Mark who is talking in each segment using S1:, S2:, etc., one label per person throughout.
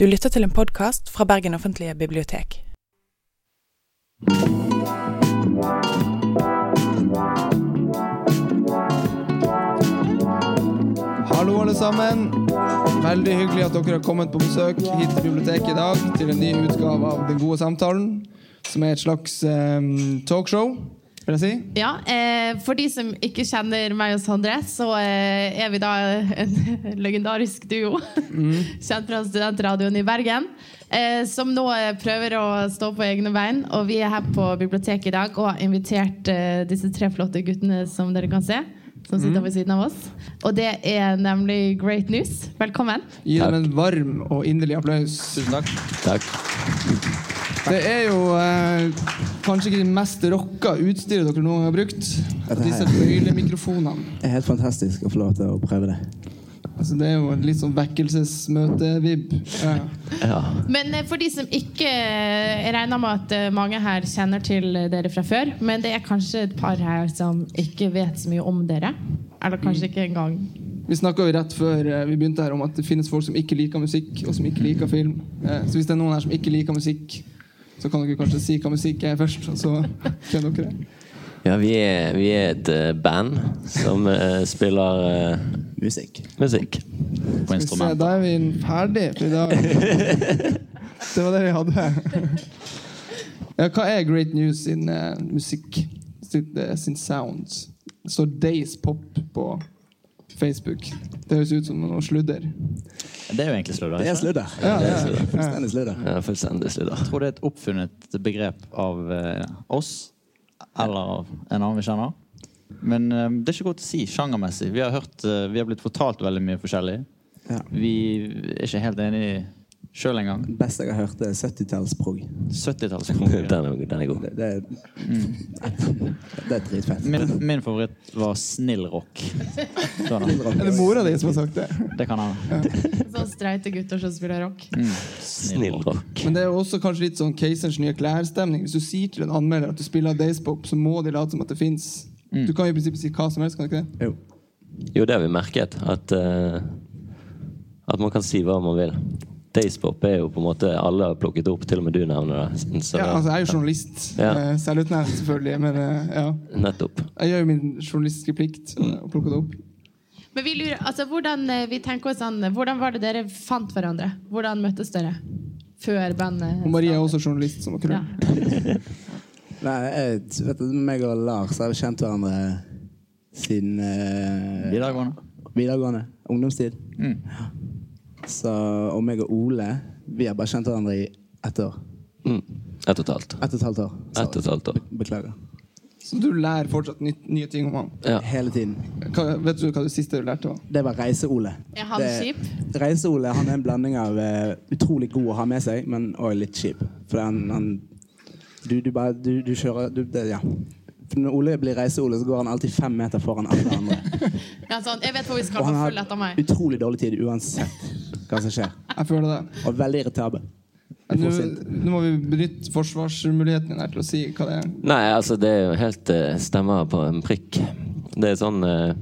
S1: Du lytter til en podkast fra Bergen offentlige bibliotek.
S2: Hallo, alle sammen. Veldig hyggelig at dere har kommet på besøk hit til biblioteket i dag til en ny utgave av Den gode samtalen, som er et slags eh, talkshow, vil jeg si.
S3: Ja, eh, For de som ikke kjenner meg og Sondre, så eh, er vi da en legendarisk duo. Kjent fra studentradioen i Bergen. Eh, som nå eh, prøver å stå på egne bein. Og vi er her på biblioteket i dag og har invitert eh, disse tre flotte guttene som dere kan se. Som sitter ved siden av oss. Og det er nemlig Great News. Velkommen.
S2: Gi dem en varm og inderlig applaus.
S4: Tusen takk. Takk.
S2: Det er jo eh, kanskje ikke det mest rocka utstyret dere noen gang har brukt. Disse bøylemikrofonene.
S4: Det er helt fantastisk å få lov til å prøve det.
S2: Altså, det er jo en litt sånn vekkelsesmøte-vib. Ja.
S4: Ja.
S3: Men eh, for de som ikke Jeg regner med at eh, mange her kjenner til eh, dere fra før. Men det er kanskje et par her som ikke vet så mye om dere. Eller kanskje ikke engang.
S2: Vi snakka rett før eh, vi begynte her om at det finnes folk som ikke liker musikk, og som ikke liker film. Eh, Så hvis det er noen her som ikke liker musikk, så kan dere kanskje si hva musikk er først, og så kjenner dere det.
S5: Ja, vi er, vi er et eh, band som eh, spiller eh,
S4: Musikk.
S5: musikk.
S6: på
S2: Skal vi se,
S6: instrument.
S2: da er vi ferdig for i dag. Det var det vi hadde. Ja, hva er Great News sin eh, musikk? Sin, eh, sin sound? Det står Days Pop på Facebook. Det høres ut som noe sludder.
S6: Det er jo egentlig sludder.
S4: Det er
S6: ikke sant?
S4: sludder.
S2: Ja, ja, ja.
S4: Fullstendig sludder.
S5: Ja, fullstendig sludder.
S6: Jeg tror det er et oppfunnet begrep av eh, oss, eller av en annen vi kjenner. Men eh, det er ikke godt å si sjangermessig. Vi har, hørt, eh, vi har blitt fortalt veldig mye forskjellig.
S4: Ja.
S6: Vi er ikke helt enige sjøl engang.
S4: Det beste jeg har hørt, er 70-tallsprog.
S6: 70-tallskonkurranse.
S5: Den er, god, den er god.
S4: Det, det, er- det er dritfett.
S6: Mm. Min, min favoritt var snill rock. Sånn, da.
S2: Er det mora di som har sagt det?
S6: det kan han. Mm.
S3: Sånn streite gutter som spiller rock.
S5: Snill rock.
S2: Men det er jo også kanskje litt sånn Keiserens nye klær-stemning. Hvis du sier til en anmelder at du spiller Dayspop, så må de late som at det fins. Du kan jo i prinsippet si hva som helst, kan du ikke det?
S4: Jo.
S5: Jo, det har vi merket. At, eh, at man kan si hva man vil. Dayspop er jo på en måte alle har plukket opp, til og med du nevner det. Så,
S2: Ja, altså, jeg er jo journalist.
S5: Ja.
S2: eh, Selvutnevnt, selvfølgelig. Men eh, ja.
S5: Nettopp.
S2: Jeg gjør jo min journalistiske plikt eh, og plukker det opp.
S3: Men vi lurer, altså hvordan, eh, vi tenker oss an, eh, hvordan var det dere fant hverandre? Hvordan møttes dere? Før bandet?
S2: Og Marie er også journalist, som dere.
S3: Ja.
S4: Nei, jeg, vet du, meg og Lars har jo kjent hverandre siden eh,
S6: Videregående.
S4: videregående. Ungdomstid.
S6: Mm.
S4: Så, og meg og Ole, vi har bare kjent hverandre i ett år.
S5: Mm. Ett og et halvt.
S4: Ett og et halvt år. Så-
S5: Ett og et halvt år.
S4: Beklager.
S2: Så du lærer fortsatt nytt, nye ting om han.
S5: Ja.
S4: Hele tiden.
S2: Hva, vet du hva det siste du lærte? var?
S4: Det var Reise-Ole.
S3: Er han
S4: Det- Reise-Ole han er en blanding av eh, utrolig god å ha med seg, men også litt kjip. For han, han du, du bare Du, du kjører du, det, Ja. For når Ole blir Reise-Ole, så går han alltid fem meter foran alle andre.
S3: Ja, sånn, jeg vet hvor vi skal
S4: Og han
S3: få
S4: har
S3: følge etter meg.
S4: utrolig dårlig tid uansett hva som skjer.
S2: Jeg føler det.
S4: Og veldig irritabel. Jeg
S2: Nå,
S4: får sint.
S2: nå må vi benytte forsvarsmuligheten din her til å si hva det er.
S5: Nei, altså det er jo helt eh, stemmer på en prikk. Det er sånn eh,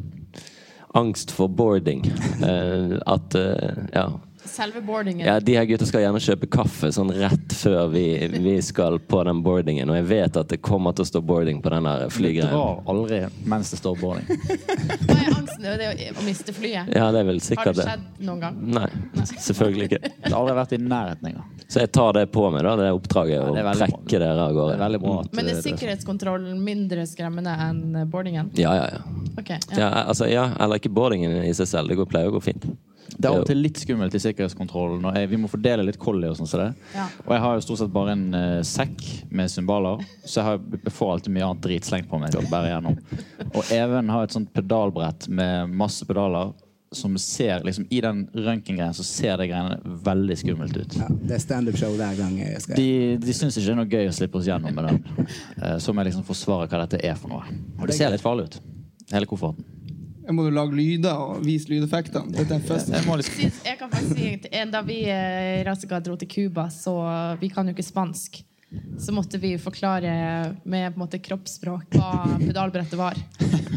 S5: angst for boarding. Eh, at eh, ja.
S3: Selve boardingen.
S5: Ja, De her gutta skal gjerne kjøpe kaffe sånn rett før vi, vi skal på den boardingen. Og jeg vet at det kommer til å stå boarding på den her
S6: Vi
S5: flygreia.
S6: drar aldri mens det står boarding.
S3: Hva er angsten ved det å å miste flyet?
S5: Ja, det er vel
S3: Har
S5: sikkert
S3: det
S5: det.
S3: skjedd noen gang?
S5: Nei, selvfølgelig ikke.
S6: Det har aldri vært i nærheten engang.
S5: Så jeg tar det på meg, da. Det er oppdraget
S6: Ja, det er
S5: å
S6: veldig bra.
S5: trekke dere av
S6: Det er
S5: gårde.
S6: veldig bra at
S3: Men
S6: eh,
S3: er
S6: det-
S3: sikkerhetskontrollen mindre skremmende enn boardingen?
S5: Ja, ja, ja.
S3: Ok, ja.
S5: Ja, altså, ja, eller ikke boardingen i seg selv. Det går, pleier å gå fint.
S6: Det er av og til litt skummelt i sikkerhetskontrollen. Og jeg, vi må fordele litt kolli og sånn som det.
S3: Ja.
S6: Og jeg har jo stort sett bare en eh, sekk med cymbaler, så jeg, har, jeg får alltid mye annet drit slengt på meg. til å bære gjennom. Og Even har et sånt pedalbrett med masse pedaler som ser liksom I den røntgengreien så ser det greiene veldig skummelt ut.
S4: Ja, det er standup-show hver gang jeg skal
S6: De, de syns ikke det er noe gøy å slippe oss gjennom med den. Eh, Så må jeg liksom forsvare hva dette er for noe. Og det ser litt farlig ut. Hele kofferten.
S2: Jeg må jo lage lyder og vise lydeffektene. Dette er en fest.
S6: Jeg må liksom
S3: Jeg kan faktisk si at en da vi eh, i Rassegard dro til Cuba, så vi kan jo ikke spansk. så måtte vi forklare med på en måte kroppsspråk hva pedalbrettet var.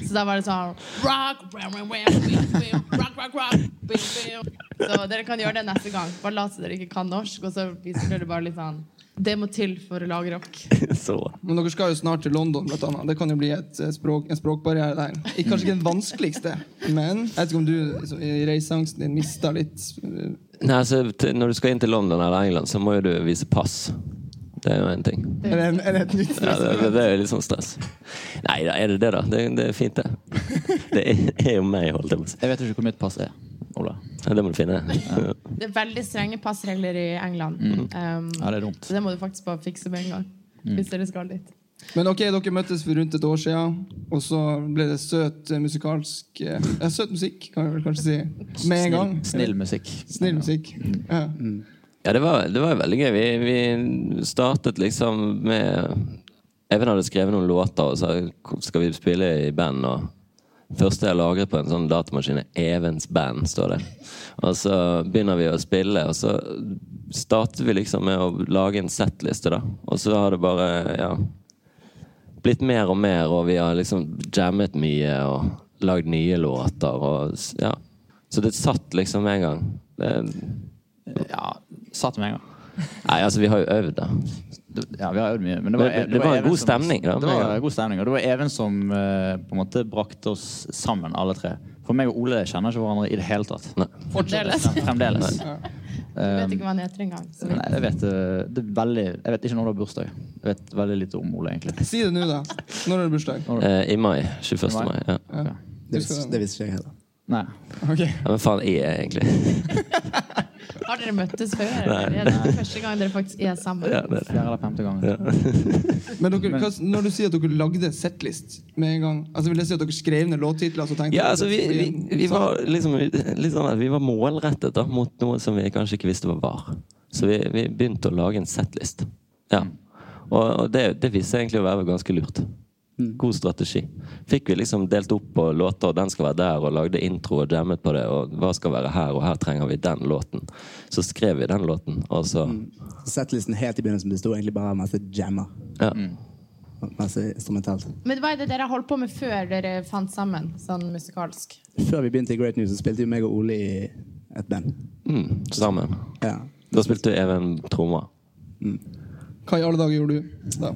S3: Så da var det sånn rock, bam, bam, bam, bam, bam, rock, rock, rock, bam, bam. Så dere kan gjøre det neste gang. Bare lat som dere ikke kan norsk, og så viser dere bare litt sånn Det må til for å lage rock.
S5: Så.
S2: Men dere skal jo snart til London, blant annet. Det kan jo bli et eh, språk, en språkbarriere der. Ikke- Kanskje ikke den vanskeligste, men jeg vet ikke om du liksom, i reiseangsten din mista litt eh,
S5: Nei, altså, til- når du skal inn til London eller England, så må jo du vise pass. Det er jo en ting.
S2: Er det, en, er det et nytt
S5: Ja, det, det, det er jo litt sånn stress. Nei da, er det det, da? Det, det er fint, det. Det er, er jo meg, holdt jeg på å si.
S6: Jeg vet ikke hvor mitt pass er. Ola.
S5: Ja, Det må du finne.
S3: Det er veldig strenge passregler i England. Um,
S6: Mm. Ja, det er Mm. dumt.
S3: så det må du faktisk bare fikse med en gang. Hvis dere skal dit.
S2: Men ok, dere møttes for rundt et år siden, og så ble det søt eh, musikalsk eh, Ja, søt musikk, kan vi vel kanskje si. Med en gang.
S6: Snill, snill musikk.
S2: Snill musikk. Ja.
S5: Ja, det var, det var veldig gøy. Vi, vi startet liksom med Even hadde skrevet noen låter og sa skal vi spille i band. Og første jeg lagret på en sånn datamaskin, er Evens band, står det. Og så begynner vi å spille, og så startet vi liksom med å lage en settliste, da. Og så har det bare ja, blitt mer og mer, og vi har liksom jammet mye og lagd nye låter. Og, s- ja. Så det satt liksom med en gang. Det,
S6: Ja, satt med en gang.
S5: Nei, altså, vi har jo øvd, da.
S6: Det- Ja, vi har øvd mye. Men det
S5: Det- det var en
S6: Even
S5: god
S6: som-
S5: stemning, da,
S6: Det
S5: med en
S6: var
S5: gang.
S6: en god stemning, og det var Even som eh, på en måte brakte oss sammen, alle tre. For meg og Ole kjenner ikke hverandre i det hele tatt.
S5: Nei.
S3: Fremdeles.
S6: Frem- Fremdeles. Eh,
S3: Jeg vet ikke hva han heter engang. så-
S6: Nei, jeg vet, eh, det er veldig, jeg vet ikke når du har bursdag. Jeg vet veldig lite om Ole, egentlig.
S2: Si det nå, da. Når er det bursdag?
S5: Eh, I mai. 21.
S6: I mai?
S5: mai. Ja.
S4: Det visste, det visste ikke jeg heller.
S6: Nei.
S2: Ok.
S5: ja, Men faen er jeg egentlig
S3: Har dere møttes før? eller? Er det første gang dere faktisk er sammen?
S5: ja, det er det.
S6: Fjerde eller femte gang.
S2: Men dere, hva, når du sier at dere lagde settlist med en gang Altså Vil det si at dere skrev ned låttitler? Så tenkte
S5: Ja,
S2: dere
S5: altså, vi,
S2: at det
S5: vi,
S2: skulle bli en
S5: vi
S2: sang?
S5: var liksom litt sånn at vi var målrettet da, mot noe som vi kanskje ikke visste hva var. Så vi, vi begynte å lage en setlist. Ja. Og, og det, det viste seg egentlig å være ganske lurt. God strategi. Fikk vi liksom delt opp på låter, og den skal være der, og lagde intro og jammet på det, og hva skal være her, og her trenger vi den låten. Så skrev vi den låten, og så
S4: Settlisten helt i begynnelsen besto egentlig bare av masse jammer.
S5: ja.
S4: Masse instrumentalt.
S3: Men hva er det dere holdt på med før dere fant sammen, sånn musikalsk?
S4: Før vi begynte i Great News, så spilte jo meg og Ole i et band.
S5: Mm, sammen.
S4: Ja.
S5: Da spilte du Even trommer.
S2: Hva i alle dager gjorde du? Da?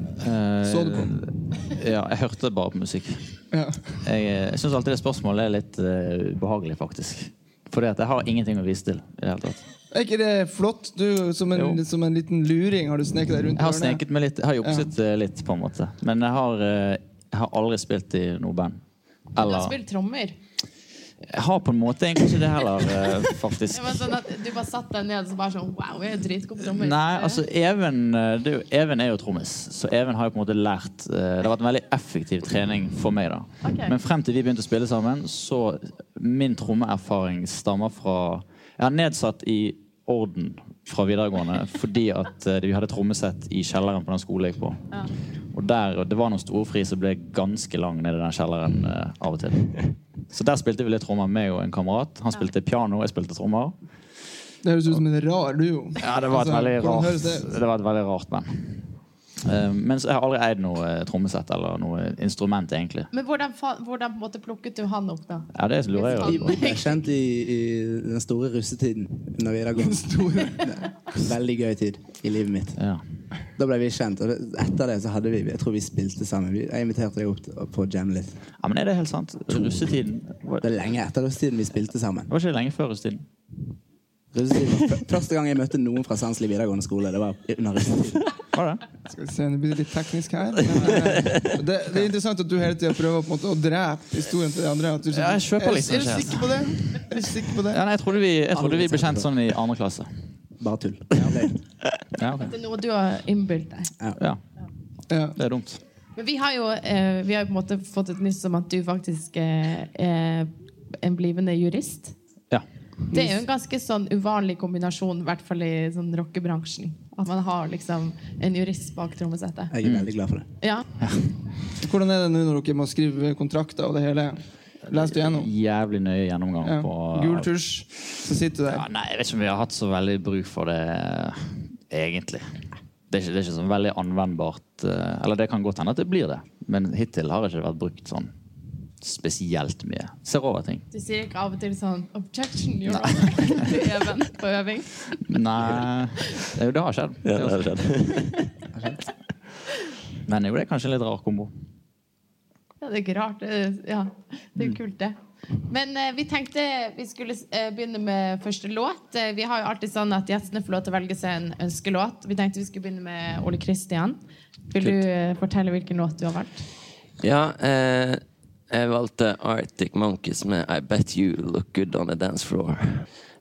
S2: Så du på?
S6: Eh, Ja, jeg hørte bare på musikk.
S2: Ja.
S6: Jeg, eh, jeg syns alltid det spørsmålet er litt eh, ubehagelig, faktisk. Fordi at jeg har ingenting å vise til. i det hele tatt.
S2: Er ikke det flott? Du, som en,
S6: Jo.
S2: som en liten luring har du sneket deg rundt
S6: Jeg har
S2: hjørnet.
S6: sneket meg litt, jeg har jukset eh, litt, på en måte. Men jeg har, eh, jeg har aldri spilt i noe band.
S3: Du har
S6: Eller
S3: spilt trommer.
S6: Jeg har på en måte egentlig ikke det heller, eh, faktisk.
S3: Det var sånn at Du bare satt deg ned og så bare sånn Wow, jeg er dritgod på trommer.
S6: Nei, altså Even, eh, det er, jo, Even er jo trommis, så Even har jo på en måte lært eh, Det har vært en veldig effektiv trening for meg. da
S3: Ok.
S6: Men frem til vi begynte å spille sammen, så min trommeerfaring stammer fra Jeg har nedsatt i orden fra videregående fordi at eh, vi hadde trommesett i kjelleren på den skolen jeg gikk på. Og der, og det var noen store fri som ble ganske lang nede i den kjelleren eh, av og til. Så der spilte vi litt trommer, meg og en kamerat. Han spilte piano, jeg spilte trommer.
S2: Det høres ut som en rar duo.
S6: Ja, det var et
S2: Altså,
S6: veldig
S2: hvordan høres
S6: rart,
S2: det ut?
S6: det var et veldig rart band. Eh, men så jeg har aldri eid noe eh, trommesett eller noe instrument, egentlig.
S3: Men hvordan, fa- hvordan på en måte plukket du han opp, da?
S6: Ja, det lurer jeg jo på.
S4: Jeg kjente i, i den store russetiden under videregående. Veldig gøy tid i livet mitt.
S6: Ja.
S4: Da ble vi kjent, og det- etter det så hadde vi Jeg tror vi spilte sammen. Vi- Jeg inviterte deg opp til- på å jamme litt.
S6: ja, men er det helt sant? Russetiden var-
S4: Det
S6: Det
S4: er lenge etter russetiden vi spilte sammen.
S6: var ikke lenge før russetiden.
S4: Russetiden var f- Første gang jeg møtte noen fra Sandsli videregående skole, det var under russetiden.
S6: Var det?
S2: Skal vi se, Nå blir det litt teknisk her. Men, eh, det, det er interessant at du hele tida prøver på en måte å drepe historien til de andre. At du,
S6: Ja, jeg kjøper
S2: Er du-
S6: liksom
S2: Er du
S6: ikke.
S2: sikker på det? Er du sikker på det?
S6: Ja, nei, jeg trodde vi, jeg trodde vi ble kjent sånn i andre klasse.
S4: Bare tull. Løgn.
S6: Ja, ok.
S3: Det er noe du har innbilt deg.
S6: ja
S2: Ja.
S6: det er dumt.
S3: Men vi har jo eh, vi har jo på en måte fått et nyss om at du faktisk eh, er en blivende jurist.
S6: Ja.
S3: Det er jo en ganske sånn uvanlig kombinasjon, i hvert fall i sånn rockebransjen. At man har liksom en jurist bak trommesettet.
S4: Jeg er veldig glad for det.
S3: Ja.
S2: Hvordan er det nå når dere må skrive kontrakter og det hele? Leste du gjennom?
S6: Jævlig nøye gjennomgang
S2: Ja.
S6: på
S2: Gul tusj, så sitter du
S6: Ja,
S2: der.
S6: nei, jeg vet ikke om vi har hatt så veldig bruk for det, eh, egentlig. det, er ikke, det er ikke sånn veldig anvendbart eh, Eller det kan godt hende at det blir det, men hittil har det ikke vært brukt sånn spesielt mye. Ser over ting.
S3: Du sier ikke av og til sånn 'objection, you're wrong' til Even på øving?
S6: Nei eh, Jo, det har skjedd.
S5: Ja, det har skjedd.
S6: Men jo, det er kanskje en litt rar kombo.
S3: Ja, det er ikke rart. det- Ja, det er kult, det. Men eh, vi tenkte vi skulle eh, begynne med første låt. Eh, vi har jo alltid sånn at gjestene får lov til å velge seg en ønskelåt. Vi tenkte vi skulle begynne med Ole Kristian. Vil du eh, fortelle hvilken låt du har valgt?
S5: Ja, eh, jeg valgte Arctic Monkeys med I Bet You Look Good On The Dance Floor.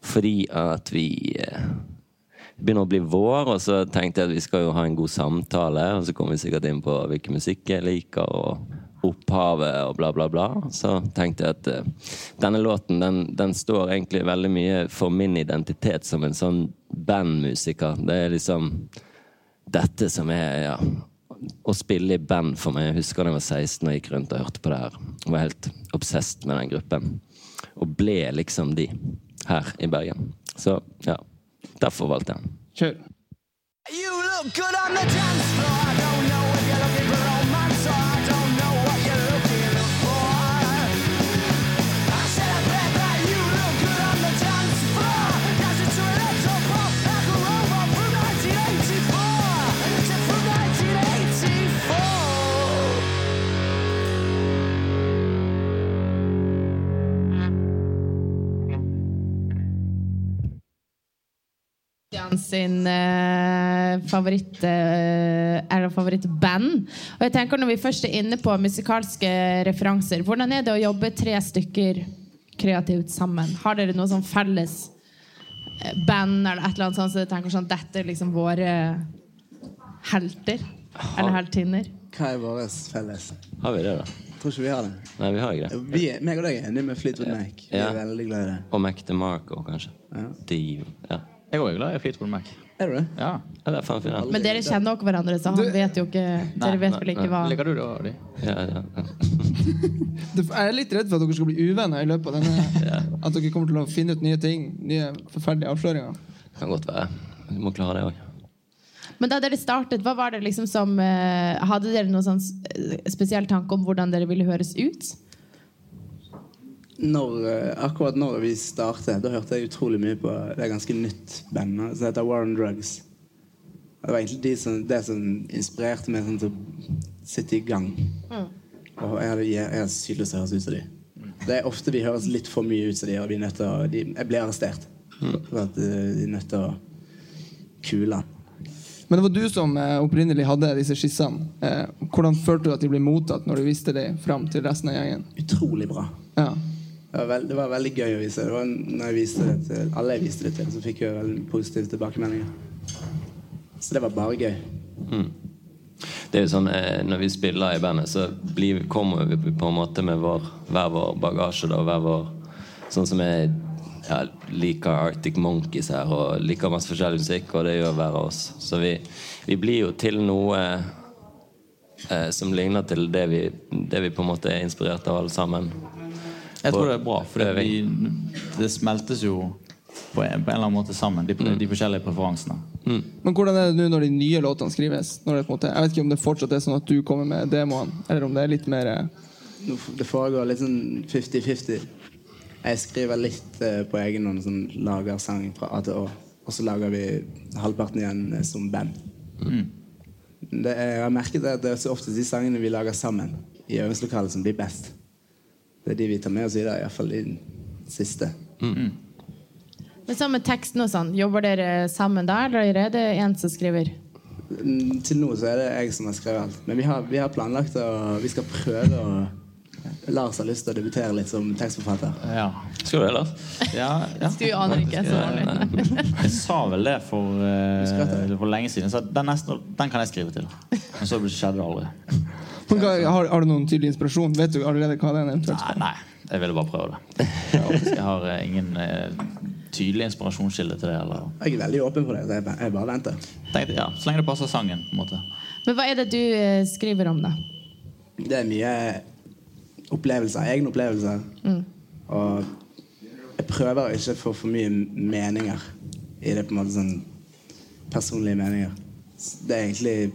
S5: Fordi at vi eh, Det begynner å bli vår, og så tenkte jeg at vi skal jo ha en god samtale. Og så kommer vi sikkert inn på hvilken musikk jeg liker, og opphavet og bla, bla, bla. Så tenkte jeg at eh, denne låten den, den står egentlig veldig mye for min identitet som en sånn bandmusiker. Det er liksom dette som er ja, å spille i band for meg. Jeg husker da jeg var 16 og gikk rundt og hørte på det her. Jeg var helt obsesst med den gruppen. Og ble liksom de her i Bergen. Så ja, derfor valgte jeg den.
S2: Kjør.
S7: You look good on the dance floor. I don't know if you're looking for romance or I don't know what you're looking for. I said I bet that you look good on the dance floor. Dancing to electropop like a robot from 1984. Said from 1984.
S3: Christian sin eh, favoritt eh, eller favorittband. Og jeg tenker Når vi først er inne på musikalske referanser, hvordan er det å jobbe tre stykker kreativt sammen? Har dere noe sånn felles eh, band eller et eller annet sånt, så dere tenker sånn dette er liksom våre helter? Eller heltinner?
S4: Hva er vår felles?
S5: Har vi det, da?
S4: Jeg tror ikke vi har det.
S5: Nei, vi har ikke det.
S4: Vi er, meg og deg er enige med Fleetwood Mac. Vi
S5: Ja.
S4: er veldig glad i det.
S5: Og Mac DeMarco, kanskje.
S4: Ja.
S5: De, ja.
S6: Jeg er òg glad i Fleetwood Mac.
S4: Er du det?
S6: Ja.
S5: ja, det er faen fint.
S3: Men dere kjenner jo hverandre, så han vet jo ikke Dere vet vel ikke hva
S6: Liker du det òg, de?
S5: Ja, ja, ja.
S2: Det- Jeg er litt redd for at dere skal bli uvenner i løpet av denne. At dere kommer til å finne ut nye ting. Nye forferdelige avsløringer.
S5: Kan godt være. Du må klare det òg.
S3: Men da dere startet, hva var det liksom som eh, Hadde dere noen sånn s- eh, spesiell tanke om hvordan dere ville høres ut?
S4: når, eh, akkurat når vi startet, da hørte jeg utrolig mye på det er ganske nytt bandet som heter War on Drugs. Og Det var egentlig de som, det som inspirerte meg sånn til å sitte i gang. Og jeg hadde- jeg er så sydløs til å høres ut som de. Det er ofte vi høres litt for mye ut som de, og vi er nødt til å de, Jeg blir arrestert. For at eh, de er nødt til å kule han.
S2: Men det var du som eh, opprinnelig hadde disse skissene. Eh, hvordan følte du at de ble mottatt når du viste dem fram til resten av gjengen?
S4: Utrolig bra.
S2: Ja.
S4: Det var, veld, det var veldig gøy å vise. Det var, når jeg viste det til alle jeg viste det til, så fikk jeg veldig positive tilbakemeldinger. Så det var bare gøy.
S5: Mm. Det er jo sånn, eh, Når vi spiller i bandet, så blir, kommer vi på en måte med vår, hver vår bagasje. Da, hver vår, sånn som jeg ja, liker Arctic Monkeys her, og liker masse forskjellig musikk, og det gjør hver av oss. Så vi, vi blir jo til noe eh, som ligner til det vi, det vi på en måte er inspirert av, alle sammen.
S6: Jeg tror det er bra, for det,
S5: Øving.
S6: det smeltes jo på en, på en eller annen måte sammen, de, de forskjellige preferansene.
S2: Men hvordan er det nå når de nye låtene skrives? Når det på en måte, jeg vet ikke om det fortsatt er sånn at du kommer med demoen, eller om det er litt mer eh,
S4: Nå f- Det foregår litt sånn 50-50. Jeg skriver litt eh, på egen hånd, sånn, lager sang fra A til Å. Og så lager vi halvparten igjen eh, som band. Det, er- jeg har merket at det er så ofte de sangene vi lager sammen i øvingslokalet, som blir best. Det er de vi tar med oss videre, iallfall de siste.
S3: Men så med teksten og sånn, jobber dere sammen da, eller er det en som skriver?
S4: Mm, Til nå så er det jeg som har skrevet alt. Men vi har, vi har planlagt å Vi skal prøve å Lars har lyst til å debutere litt som tekstforfatter.
S6: Ja.
S5: Skal du det, Lars?
S6: Ja, ja.
S3: Du aner ikke, så vanlig.
S6: Jeg sa vel det for, eh,
S4: Husker at det-
S6: for lenge siden. Så den, neste, den kan jeg skrive til. Men så skjedde det aldri.
S2: men hva, har, har du noen tydelig inspirasjon? Vet du allerede hva den eventuelt
S6: Nei, nei. Jeg ville bare prøve det. Jeg har- Jeg har eh, ingen eh, tydelig inspirasjonskilde til det. Eller.
S4: Jeg er veldig åpen for det. så Jeg ba- jeg bare venter.
S6: Tenkte, ja, så lenge det passer sangen. på en måte.
S3: Men hva er det du eh, skriver om, da?
S4: Det er mye opplevelser. Egne opplevelser. Og jeg prøver å ikke få for mye meninger i det. på en måte sånn Personlige meninger. Så Det er egentlig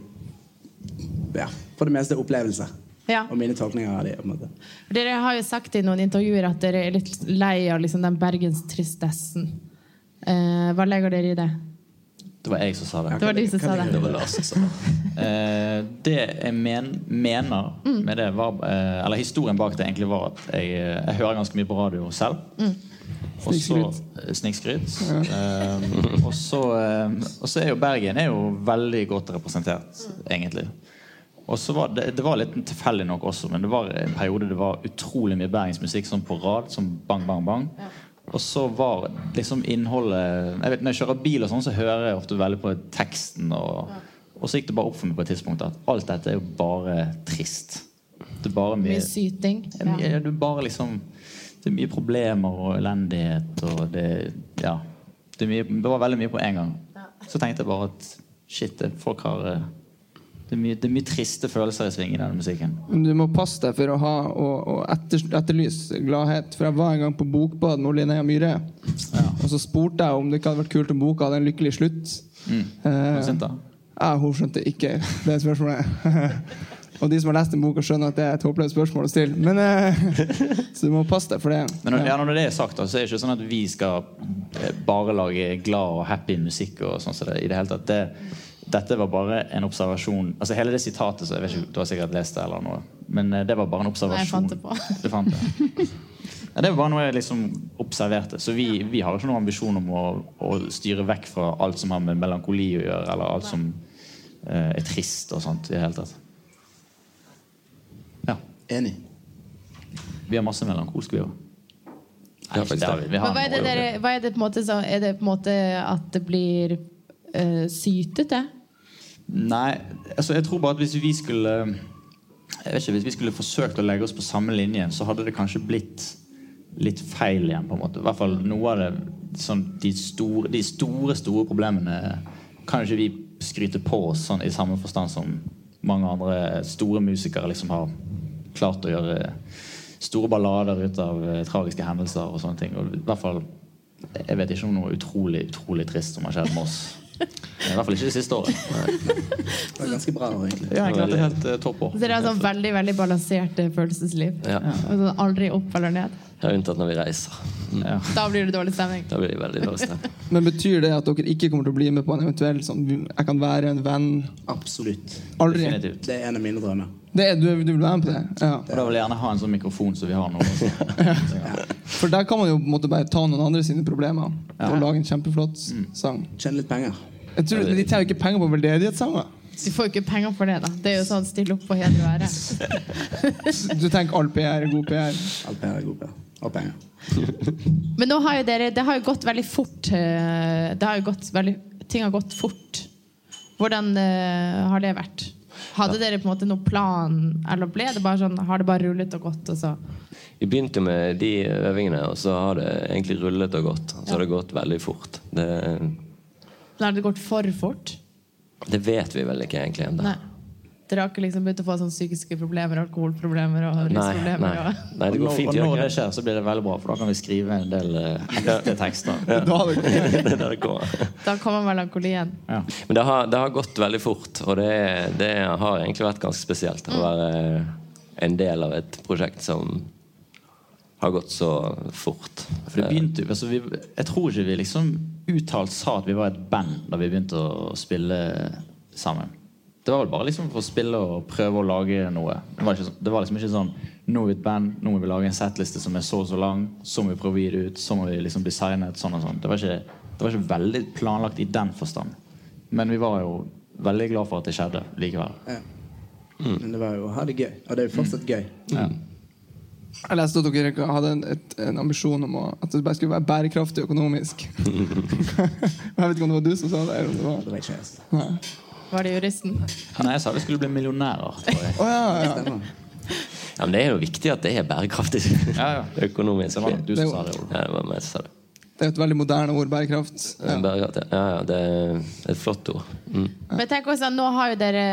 S4: ja, for det meste opplevelser.
S3: Ja.
S4: Og mine tolkninger av dem. på en måte.
S3: Dere har jo sagt i noen intervjuer at dere er litt lei av liksom den bergenstristessen. Eh, hva legger dere i det?
S6: Det var jeg som sa det.
S3: Det var du som sa
S6: Det
S3: det.
S6: var Lars som sa det. Eh, det jeg men, mener med det, var eh, Eller historien bak det egentlig var at jeg, eh, jeg hører ganske mye på radio selv. Og så eh, Snikskryt. Eh, og så eh, og så er jo Bergen er jo veldig godt representert, egentlig. Og så var det, det var litt tilfeldig nok også, men det var en periode det var utrolig mye bergensmusikk sånn på rad. Sånn bang, bang, bang. Og så var liksom innholdet jeg vet, Når jeg kjører bil, og sånn, så hører jeg ofte veldig på teksten. Og, og så gikk det bare opp for meg på et tidspunkt at alt dette er jo bare trist. Det er bare mye,
S3: Mye syting.
S6: ja. men er du bare liksom Det er mye problemer og elendighet og det Ja. Det, er mye, det var veldig mye på en gang. Så tenkte jeg bare at shit, det- folk har eh, det er, mye, det er mye triste følelser i sving i denne musikken.
S2: Men du må passe deg for å ha og, og etter, etterlyse gladhet. For jeg var en gang på Bokbad med Linnea Myhre. Og så spurte jeg om det ikke hadde vært kult om boka hadde en lykkelig slutt.
S6: Er Mm. du
S2: Eh,
S6: sint, da?
S2: ja, hun skjønte ikke det spørsmålet. og de som har lest den boka, skjønner at det er et håpløst spørsmål å stille. Men, eh, så du må passe deg for det.
S6: Men når, ja, når det er sagt, da, så er det ikke sånn at vi skal eh, bare lage glad og happy musikk. og sånn som det, i det hele tatt. Det, dette var bare en observasjon. Altså Hele det sitatet så jeg vet ikke, Du har sikkert lest det, eller noe, men eh, det var bare en
S3: Nei, jeg
S6: observasjon.
S3: fant det på.
S6: Du fant det. Ja, det var bare noe jeg liksom observerte. Så vi, vi har ikke noen ambisjon om å, å styre vekk fra alt som har med melankoli å gjøre, eller alt som eh, er trist og sånt. i det hele tatt. Ja.
S4: Enig.
S6: Vi har masse melankolsk, vi òg.
S5: Ja, faktisk det.
S3: Men hva er det, dere, hva er det på en måte som Er det på en måte at det blir eh, sytete?
S6: Nei, altså jeg tror bare at hvis vi skulle Jeg vet ikke, hvis vi skulle forsøkt å legge oss på samme linje, så hadde det kanskje blitt litt feil igjen, på en måte. I hvert fall noe av det sånn, de, store, de store, store problemene kan ikke vi skryte på oss sånn, i samme forstand som mange andre store musikere liksom har klart å gjøre store ballader ut av eh, tragiske hendelser og sånne ting. Og i hvert fall Jeg vet ikke om noe utrolig, utrolig trist som har skjedd med oss. I hvert fall ikke det siste året.
S4: Det var ganske bra, egentlig.
S6: Ja, egentlig at det er helt eh, topp år.
S3: Så dere har sånn veldig veldig balansert eh, følelsesliv.
S5: Ja.
S3: Og sånn Aldri opp eller ned.
S5: Ja, unntatt når vi reiser. Mm,
S3: Da blir det dårlig stemning.
S5: Da blir det veldig dårlig stemning.
S2: Men betyr det at dere ikke kommer til å bli med på en eventuell sånn Jeg kan være en venn?
S4: Absolutt.
S2: Aldri?
S6: Definitivt.
S4: Det er en av mine drømmer.
S2: Det er, du, du vil være med på det? Ja.
S6: Og da vil jeg gjerne ha en sånn mikrofon som vi har nå. Også.
S2: For der kan man jo på en måte bare ta noen andre sine problemer og lage en kjempeflott
S6: Mm.
S2: sang.
S4: Tjene litt penger.
S2: Jeg tror De tjener ikke penger på veldedighetssanger.
S3: Du får jo ikke penger for det, da. Det er jo sånn stille opp og heder og ære.
S2: Du tenker all PR er god PR.
S4: Alt penger er god penger. Og penger.
S3: Men nå har jo dere Det har jo gått veldig fort. eh, Det har jo gått veldig, ting har gått fort. Hvordan eh, har det vært? Hadde dere på en måte noen plan, eller ble det bare sånn Har det bare rullet og gått, og så
S5: Vi begynte jo med de øvingene, og så har det egentlig rullet og gått. Så har det gått veldig fort. Det,
S3: Men har det gått for fort?
S5: det vet vi vel ikke egentlig ennå.
S3: Nei. Dere har ikke liksom begynt å få sånn psykiske problemer, alkoholproblemer og
S5: Nei, nei.
S3: rusproblemer? Og...
S5: nei, det
S6: Og
S5: går
S6: når-
S5: fint.
S6: Og
S5: gjør
S6: når
S5: ikke
S6: det skjer, så blir det veldig bra, for da kan vi skrive en del eh, ekte tekster.
S2: Da har det gått.
S5: det? det er der det går.
S3: Da kommer melankolien.
S6: Ja.
S5: Men det har, det har gått veldig fort, og det, det har egentlig vært ganske spesielt å være en del av et prosjekt som har gått så fort.
S6: For det begynte jo, altså vi, Jeg tror ikke vi liksom uttalt sa at vi var et band da vi begynte å spille sammen. Det var vel bare liksom for å spille og prøve å lage noe. Det var, ikke, sånn- det var liksom ikke sånn Nå er vi et band, nå må vi lage en setliste som er så og så lang, så må vi prøve å gi det ut, så må vi liksom designe et sånn og sånn. Det var ikke, det var ikke veldig planlagt i den forstand. Men vi var jo veldig glad for at det skjedde likevel.
S4: Ja. Men det var jo å ha det gøy. Og det er jo fortsatt gøy.
S6: Mm.
S2: Jeg leste at dere ikke hadde en, et, en ambisjon om å, at det bare skulle være bærekraftig økonomisk. Men jeg vet ikke om det var du som sa det. Eller om det var.
S4: Det var ikke jeg. altså.
S3: Var det juristen?
S6: Nei, jeg sa vi skulle bli millionærer. tror jeg.
S2: Å, ja, ja.
S5: Ja, men det er jo viktig at det er bærekraftig
S6: Ja, ja.
S5: økonomisk.
S6: Det var nok du som sa det. Ole.
S5: Ja, det var meg som sa det.
S2: Det er jo et veldig moderne ord, bærekraft. Ja.
S5: Bærekraft, ja. ja, ja, det er et flott ord. Mm.
S3: Men tenk også, sånn, nå, har jo dere,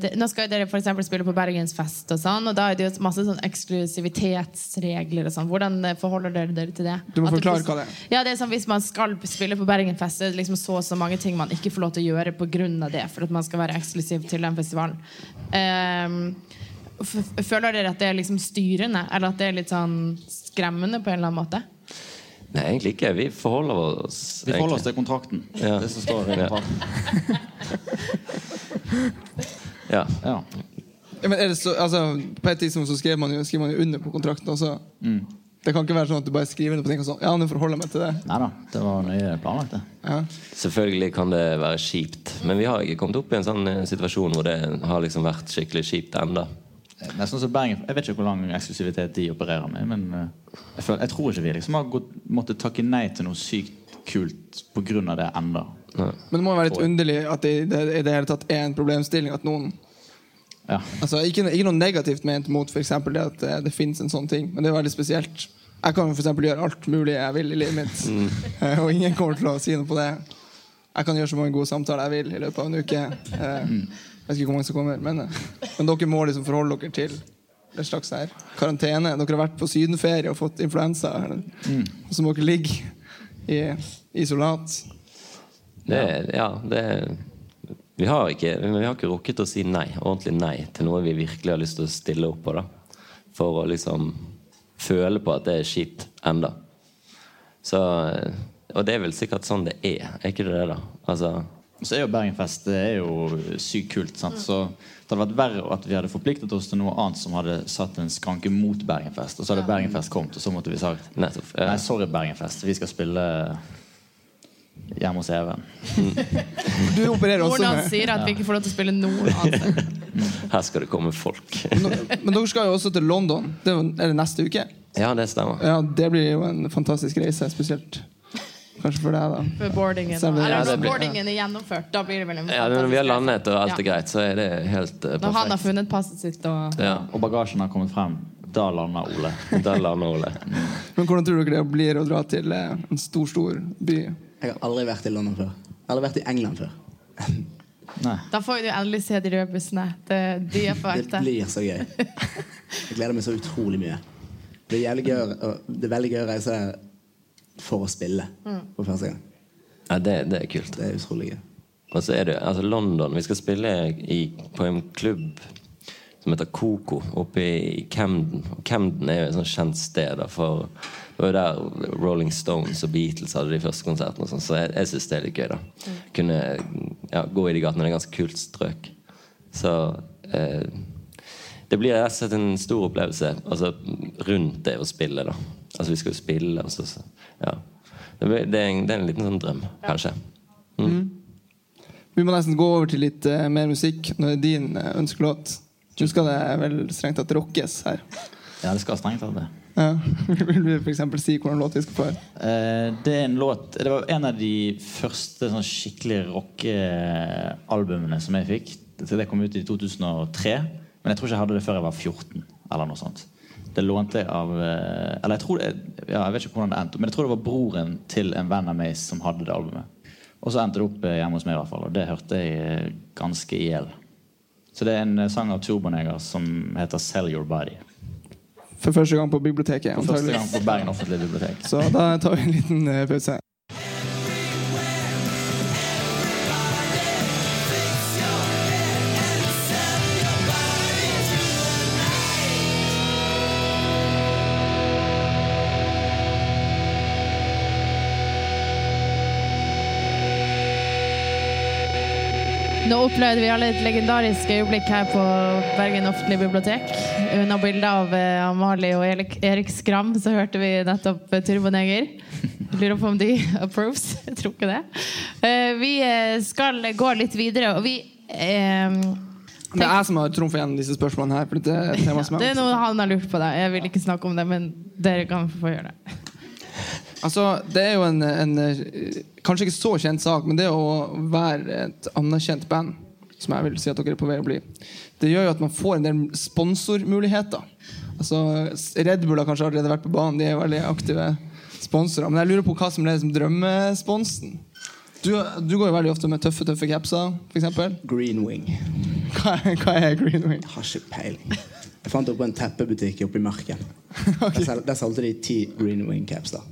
S3: de- nå skal jo dere for eksempel spille på Bergensfest, og sånn, og da er det jo masse sånn eksklusivitetsregler. og sånn. Hvordan eh, forholder dere dere til det?
S2: Du må
S3: At
S2: forklare hva det er.
S3: Ja, det er sånn, Hvis man skal spille på Bergenfest, så er det liksom så og så mange ting man ikke får lov til å gjøre pga. det, for at man skal være eksklusiv til den festivalen. Ehm, f- føler dere at det er liksom styrende, eller at det er litt sånn skremmende på en eller annen måte?
S5: Nei, egentlig ikke. Vi forholder oss
S6: Vi forholder oss til kontrakten.
S5: Ja.
S6: Det som står i
S5: Ja.
S6: kontrakten.
S5: Ja.
S6: Ja.
S2: Ja, men er det så, altså, på et tidspunkt så skrev man jo, skrev man jo under på kontrakten også. Det kan ikke være sånn at du bare skriver under på ting og sånn Ja, nå forholder jeg meg til det.
S6: Nei da, det var nøye planlagt, det.
S2: Ja.
S5: Selvfølgelig kan det være kjipt, men vi har ikke kommet opp i en sånn eh, situasjon hvor det har liksom vært skikkelig kjipt enda.
S6: Nesten så sånn Bergen, Jeg vet ikke hvor lang eksklusivitet de opererer med, men eh, jeg, føler, jeg tror ikke vi liksom har gått, måttet takke nei til noe sykt kult pga. det enda.
S2: Men det må jo være litt underlig at det i det, i det hele tatt er en problemstilling at noen
S6: Ja.
S2: Altså, ikke, ikke noe negativt ment mot f.eks. det at det, det fins en sånn ting, men det er veldig spesielt. Jeg kan jo for eksempel gjøre alt mulig jeg vil i livet mitt, eh, og ingen kommer til å si noe på det. Jeg kan gjøre så mange gode samtaler jeg vil i løpet av en uke. Eh, Jeg vet ikke hvor mange som kommer, men, eh, men dere må liksom forholde dere til det slags her karantene. Dere har vært på sydenferie og fått influensa, eller- og så må dere ligge i isolat.
S5: Det, ja, det vi har, ikke, men vi har ikke rukket å si nei, ordentlig nei til noe vi virkelig har lyst til å stille opp på. da. For å liksom føle på at det er kjipt enda. Så, eh, og det er vel sikkert sånn det er. Er ikke det det, da? Altså,
S6: Og Så er jo Bergenfest det er jo sykt kult. Sant? Så det hadde vært verre at vi hadde forpliktet oss til noe annet som hadde satt en skranke mot Bergenfest. Og så hadde Bergenfest kommet, og så måtte vi sagt
S5: nettopp. Eh, ja.
S6: Nei, sorry, Bergenfest. Vi skal spille hjemme hos Even.
S2: Du opererer også
S3: Hvordan
S2: med
S3: sier at vi ikke får lov til å spille noen annen sted?
S5: Her skal det komme folk.
S2: Men dere skal jo også til London. Det er jo- er det neste uke?
S5: ja, det stemmer.
S2: Ja, det blir jo en fantastisk reise, spesielt kanskje for deg, da.
S3: For boardingen.
S2: Stemmer.
S3: Eller
S2: Ja,
S3: når
S5: det blir-
S3: boardingen er gjennomført, da blir det vel en
S5: Ja, men Når vi har landet og alt
S3: Mm. Ja.
S5: er greit, så er det helt eh,
S3: Når han har
S5: perfekt.
S3: funnet passet sitt og
S5: Ja,
S6: Og bagasjen har kommet frem. Da lander Ole.
S5: Der lander Ole.
S2: Men hvordan tror dere det blir å dra til eh, en stor, stor by?
S4: Jeg har aldri vært i London før. Jeg har aldri vært i England før.
S6: Nei.
S3: Da får vi jo endelig se de røde bussene. Det, de er på
S4: Det
S3: ekte.
S4: blir så gøy. Jeg gleder meg så utrolig mye. Det blir jævlig gøy, å- og det er veldig gøy å reise for å spille for første gang.
S5: Ja, det, det er kult.
S4: Det er utrolig gøy.
S5: Og så er det altså London. Vi skal spille i, på en klubb som heter Coco oppe i Camden. Og Camden er jo et sånt kjent sted. Da, for det var jo der Rolling Stones og Beatles hadde de første konsertene. Og sånn, så jeg, jeg syns det er litt gøy. da Kunne ja, gå i de gatene. Det er et ganske kult strøk. Så eh, det blir rett og slett en stor opplevelse altså, rundt det å spille. da Altså Vi skal jo spille. Og så, så, ja. det, blir, det, er en, det er en liten sånn drøm, kanskje.
S2: Vi må nesten gå over til litt eh, mer musikk. Når det er din eh, ønskelåt. Du skal det vel strengt tatt rockes her.
S6: Ja, det skal strengt tatt det.
S2: Ja. Vil du f.eks. si hvordan låt vi skal få? høre?
S6: Eh, Det er en låt Det var en av de første sånn skikkelig rockealbumene som jeg fikk. Så Det kom ut i 2003, men jeg tror ikke jeg hadde det før jeg var 14. Eller noe sånt Det lånte jeg av eh, Eller jeg tror det, ja, jeg vet ikke hvordan det endte, men jeg tror det var broren til en venn av meg som hadde det albumet. Og så endte det opp eh, hjemme hos meg, i hvert fall og det hørte jeg eh, ganske i hjel. Så det er en eh, sang av Turboneger som heter 'Sell Your Body'.
S2: For første gang på biblioteket,
S6: Første
S2: antagelig.
S6: gang på Bergen offentlige bibliotek.
S2: Så da tar vi en liten eh, pause.
S3: Nå opplevde vi alle et legendarisk øyeblikk her på Bergen offentlige bibliotek. Under bildet av eh, Amalie og Erik, Erik Skram så hørte vi nettopp eh, Turboneger. Jeg Lurer på om de approves. Jeg tror ikke det. Eh, Vi eh, skal gå litt videre, og vi eh,
S2: Det er jeg som har trumfa gjennom disse spørsmålene her. For det er et tema som
S3: Det
S2: jeg
S3: er noe han har lurt på. Da. Jeg vil ikke snakke om det, men dere kan få gjøre det.
S2: Altså, det er jo en, en eh, kanskje ikke så kjent sak, men det å være et anerkjent band, som jeg vil si at dere er på vei å bli, det gjør jo at man får en del sponsormuligheter. Altså, Red Bull har kanskje allerede vært på banen, de er veldig aktive. sponsorer. Men jeg lurer på hva som er liksom drømmesponsen. Du, du går jo veldig ofte med tøffe tøffe capser, f.eks.
S4: Green Wing. Jeg
S2: Hva, er- hva er Green Wing?
S4: har ikke peiling. Jeg fant det på en teppebutikk oppe i Marken. Der, sel der solgte de ti Green Wing-caps. da.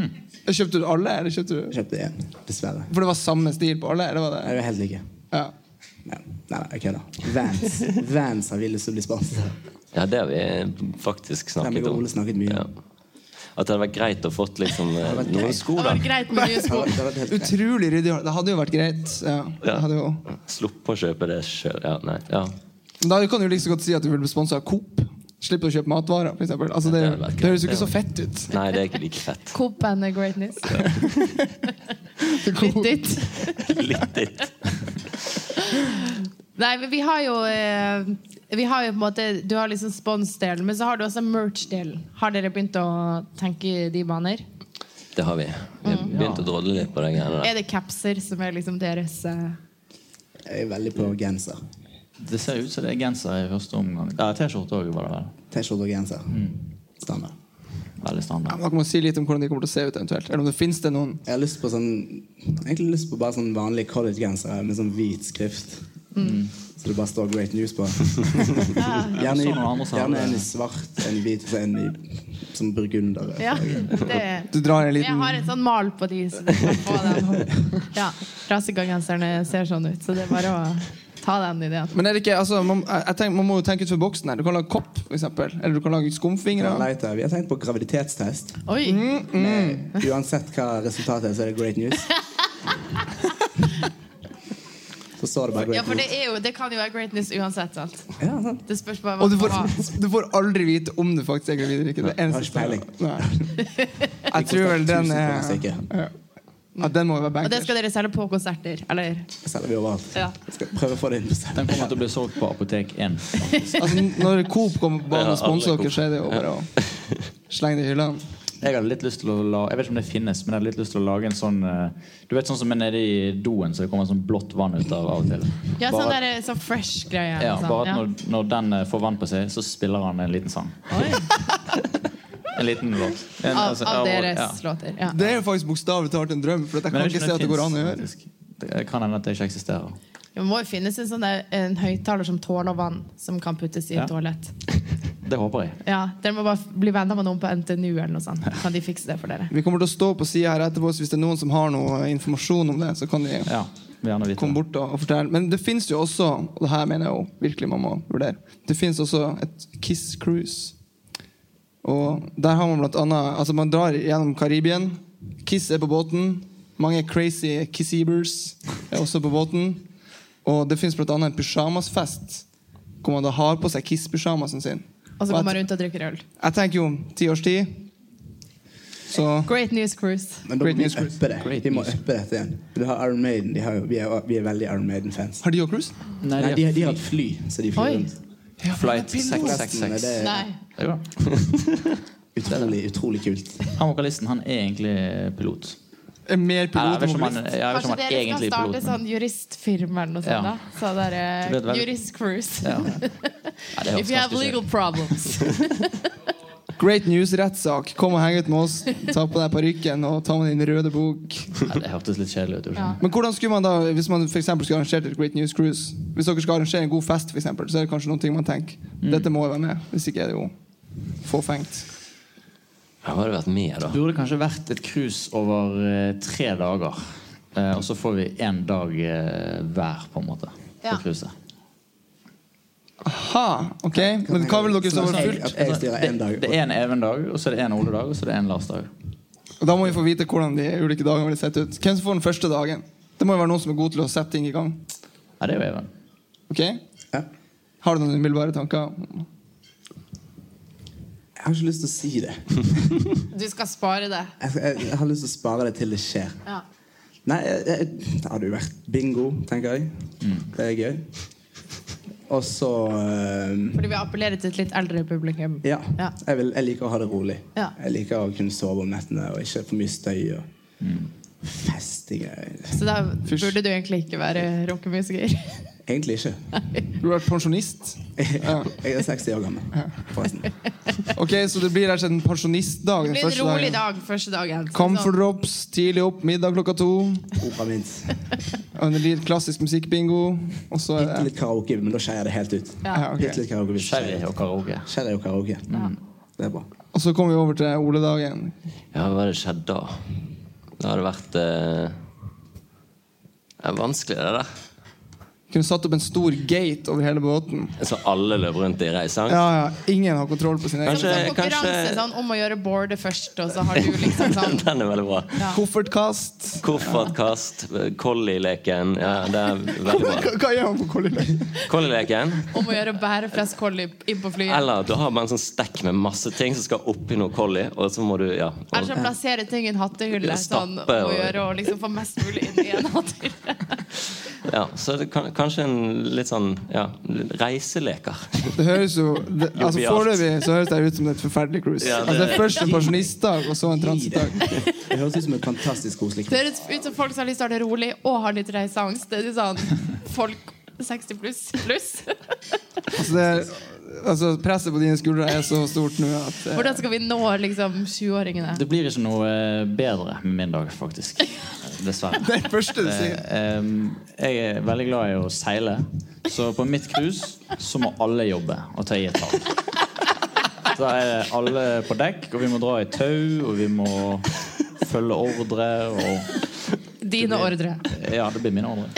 S2: Kjøpte du alle, eller kjøpte du
S4: Jeg kjøpte én, dessverre.
S2: For det var samme stil på alle? eller var
S4: Nei,
S2: det?
S4: Det er helt like.
S2: Ja.
S4: Nei, nei, nei, jeg kødder. Vans. Vans har vi lyst til å bli sponset.
S5: Ja, det har vi faktisk
S4: Ja,
S5: snakket
S4: men vi har
S5: om.
S4: Ole snakket mye
S5: Ja.
S4: om.
S5: At det hadde vært greit å fått liksom, eh,
S4: vært
S5: noen
S4: greit.
S5: sko,
S3: Det
S5: da.
S3: var greit med nye
S4: Det
S3: sko.
S4: hadde- det hadde vært helt greit.
S2: Utrolig ryddig. Det hadde jo vært greit. Ja. Det
S5: Ja.
S2: hadde jo.
S5: Sluppe å kjøpe det sjøl. Ja, nei. Ja.
S2: Men Da kan du like så godt si at du vil bli sponsa av Coop. Slipp å kjøpe matvarer, f.eks. Altså, det,
S5: Ja, det hadde vært
S2: det høres jo
S5: greit,
S2: ikke så
S5: det
S2: fett ut.
S5: Nei, det er ikke like fett.
S3: Coop and the greatness.
S2: Det er
S3: Litt
S2: Coop.
S3: ditt.
S5: Litt ditt.
S3: Nei, men vi har jo eh, Vi har jo på en måte Du har liksom sponsdelen, men så har du også merch-delen. Har dere begynt å tenke i de baner?
S5: Det har vi. Vi har begynt å drodle litt på de greiene der.
S3: Er det capser som er liksom deres eh,
S4: Jeg er veldig på genser.
S6: Det ser ut som det er genser i første omgang. Ja, T-skjorte òg, var det vel.
S4: T-skjorte og genser. Standard.
S6: Veldig standard.
S2: Dere må si litt om hvordan de kommer til å se ut, eventuelt. Eller om det finnes det noen
S4: Jeg har lyst på sånn Egentlig lyst på bare sånn vanlig college-genser med sånn hvit skrift. Så det bare står 'Great News' på. Gjerne,
S6: Så noen andre
S4: i,
S6: sa
S4: gjerne
S6: det.
S4: en i svart, en i hvit og en i som burgunder.
S3: Ja, det
S2: Du drar en
S3: Jeg
S2: liten
S3: har et sånn mal på de som på den. Ja, Rasekagenserne ser sånn ut, så det er bare å ta den ideen.
S2: Men er det ikke, altså, man, jeg jeg tenker, man må jo tenke utenfor boksen her. Du kan lage kopp, for eksempel. Eller du kan lage skumfingre.
S4: Lighter. Vi har tenkt på graviditetstest.
S3: Oi!
S4: Men Mm. uansett hva resultatet er, så er det great news. Så står det bare
S3: Ja,
S4: great
S3: for det,
S4: news.
S3: er jo, det kan jo være greatness uansett. sant?
S4: Ja, sant.
S3: Det spørs bare hva
S2: Og du
S3: man
S2: får,
S3: får ha.
S2: du får aldri vite om du faktisk er gravid eller ikke. Det er
S4: har
S2: eneste
S4: ikke peiling.
S2: Nei. Jeg tror vel den
S4: Tusen
S2: er
S4: kroner
S2: ja. Ja, den må jo være
S3: Og det
S2: bankers.
S3: skal dere selge på konserter, eller?
S4: Det selger vi overalt.
S3: Ja.
S4: Jeg skal prøve å få det inn på
S6: Den
S4: selv.
S6: kommer til å bli solgt på Apotek 1.
S2: Altså, når Coop kommer på banen og
S5: Ja, alle
S2: sponser dere,
S5: Coop.
S2: så er det jo bare å slenge det i hyllene.
S6: Jeg hadde litt lyst til å la, jeg vet ikke om det finnes, men jeg hadde litt lyst til å lage en sånn eh, Du vet sånn som er nede i doen, så det kommer sånn blått vann ut av av og til.
S3: Ja, sånn
S6: Bare-
S3: der, eh, sånn fresh-greie.
S6: Ja,
S3: liksom.
S6: bare at
S3: Ja.
S6: når, når den eh, får vann på seg, så spiller han en liten sang. en liten låt. En,
S3: Av,
S6: altså,
S3: av
S6: ja,
S3: deres
S6: ja.
S3: låter. Ja.
S2: Det er jo faktisk bokstavelig talt en drøm, for at jeg
S6: Men
S2: kan
S6: jeg vet
S2: ikke se at det
S6: om
S2: går an å
S6: finnes,
S2: gjøre.
S6: faktisk. Det kan hende at det ikke eksisterer.
S3: Det må jo finnes en, sånn der, en høyttaler som tåler vann, som kan puttes i
S6: Ja.
S3: et toalett.
S6: Det håper jeg.
S3: Ja, Dere må bare f- bli venner med noen på NTNU, eller noe sånt. Kan de fikse det for dere?
S2: Vi kommer til å stå på sida her etterpå, så hvis det er noen som har noe informasjon om det, så kan de
S6: Ja, vil gjerne vite
S2: kom
S6: det.
S2: bort og, og fortell. Men det fins jo også, og det her mener jeg jo virkelig man må vurdere, det fins også et Kiss Cruise. Og der har man blant annet Altså, man drar gjennom Karibien. Kiss er på båten. Mange crazy kissebers er også på båten. Og det fins blant annet en pysjamasfest hvor man da har på seg Kiss-pysjamasen sin.
S3: Og så går man rundt og drikker øl.
S2: Jeg tenker jo ti års tid, så
S3: Great news cruise.
S4: Men da må
S2: Great
S4: vi
S2: news, Chris.
S4: uppe det.
S6: Great
S4: Vi må
S6: news.
S4: uppe dette igjen. Du har Iron Maiden. De har jo, vi, er, vi er veldig Iron Maiden-fans.
S2: har de òg cruise?
S6: Nei,
S4: Nei, de, har- de har et fly, så de
S3: Oi.
S4: flyr rundt.
S6: Flight
S4: Resten,
S6: 666.
S4: det er
S3: Nei.
S6: Eh, Det går.
S4: utrolig, utrolig kult.
S6: Han vokalisten han er egentlig pilot.
S2: Er Mer
S6: Eller, jeg
S2: pilot
S6: vet
S2: enn
S6: ikke om han,
S2: mobilist?
S6: jeg vet ikke
S3: Kanskje
S6: om han
S3: dere skal
S6: egentlig er pilot.
S3: starte
S6: Men,
S3: sånn juristfirma eller noe
S6: Ja.
S3: sånt? da? Så der, eh,
S6: Det blir veldig-
S3: juristcruise.
S6: ja. Nei, det høres
S3: If you have
S6: ganske
S3: legal
S6: kjedelig ut.
S3: problems.
S2: Great news rettssak. Kom og heng ut med oss. Ta på deg parykken og ta med din røde bok.
S6: Nei, det hørtes litt kjedelig ut. gjorde det
S3: Ja.
S6: ikke?
S2: Men hvordan skulle man da, hvis man for eksempel skulle arrangert et Great News Cruise Hvis dere skal arrangere en god fest, for eksempel, så er det kanskje noen ting man tenker
S6: Mm.
S2: Dette må jo være med. Hvis ikke er det jo fåfengt.
S5: Ja, hadde vært med, da.
S6: burde kanskje vært et cruise over eh, tre dager. Eh, og så får vi én dag eh, hver, på en måte. På
S3: Ja.
S6: cruiset.
S2: Ha! Ok, men hva vil dere så være
S4: Jeg-
S2: fullt?
S4: at Jeg styrer én dag.
S6: altså, Det er en Even-dag, og så er det en Ole-dag, og så er det en Lars-dag.
S2: Og Da må vi få vite hvordan de ulike dagene vil sette ut. Hvem som får den første dagen? Det må jo være noen som er god til å sette ting i gang.
S6: Ja, det er jo Even.
S2: Ok?
S4: Ja.
S2: Har du noen umiddelbare tanker?
S4: Jeg har ikke lyst til å si det.
S3: Du skal spare det.
S4: Jeg, skal- jeg, jeg har lyst til å spare det til det skjer.
S3: Ja.
S4: Nei, jeg, jeg, det hadde jo vært bingo, tenker jeg. Det er gøy. Og så eh,
S3: Fordi vi appellerer til et litt eldre publikum.
S4: Ja.
S3: Ja.
S4: Jeg, vil, jeg liker å ha det rolig.
S3: Ja.
S4: Jeg liker å kunne sove om nettene og ikke for mye støy og festing. Jeg-
S3: Så da burde du egentlig ikke være rockemusiker.
S4: Egentlig ikke.
S2: Du har vært pensjonist.
S4: Jeg er 60 år gammel, forresten.
S2: Ok, Så det blir rett og slett en pensjonistdag
S3: Det
S2: den
S3: blir en
S2: første
S3: rolig
S2: dagen.
S3: dag første dagen. så
S2: Comfort
S3: sånn.
S2: drops, tidlig opp, middag klokka to.
S4: Opera minst.
S2: Og det blir klassisk musikkbingo. Og så er det
S4: Litt karaoke, men da skeier det helt ut.
S2: ja, ok.
S4: Bitte litt karaoke. hvis det skeier
S6: Sherry
S4: ut.
S6: og karaoke.
S4: Sherry og karaoke. Det er bra.
S2: Og så kommer vi over til Ole-dagen.
S5: Ja, hva hadde skjedd da? Det hadde vært eh, ja, vanskelig, det der.
S2: Kunne satt opp en stor gate over hele båten.
S5: Så alle løp rundt i reisang?
S2: Ja, ja, Ingen har kontroll på sin egen
S5: Kanskje-
S3: Sånn konkurranse
S5: kanskje-
S3: sånn, om å gjøre boardet først, og så har du liksom sånn
S5: Den er veldig bra.
S2: koffertkast.
S5: Koffertkast, Collie-leken. Ja, det er veldig
S2: Hva,
S5: bra.
S2: hva gjør man på Kolli?
S5: Collie-leken.
S3: om å gjøre bærefresk-collie inn på flyet.
S5: Eller du har bare en sånn stekk med masse ting som skal oppi noe collie, og så må du ja,
S3: Eller så
S5: og,
S3: plassere ting i en hattehylle. Sånn,
S5: Stappe
S3: om å
S5: og-
S3: gjøre og liksom få mest mulig inn i en hattehylle.
S5: ja Så det kan, kanskje en litt sånn ja, reiseleker.
S2: Det høres jo det, altså
S5: Jovialt.
S2: Foreløpig så høres det ut som et forferdelig cruise.
S5: Ja, det-
S2: altså, det er først en pensjonistdag, og så en transitdag.
S4: Det høres ut som et fantastisk koselig
S3: Det
S4: kveld.
S3: høres ut som folk som har lyst til å ha det rolig og har litt reiseangst. Det er litt sånn folk 60 pluss pluss.
S2: Altså, det er, altså Presset på dine skuldre er så stort nå at eh,
S3: Hvordan skal vi nå liksom 20-åringene?
S6: Det blir ikke noe eh, bedre med min dag, faktisk. Dessverre.
S2: Det er det første du sier.
S6: Eh, em, jeg er veldig glad i å seile, så på mitt cruise så må alle jobbe og ta i et tak. Da er det alle på dekk, og vi må dra i tau, og vi må følge ordre. Og,
S3: Dine ordre.
S6: ja, det blir mine ordre.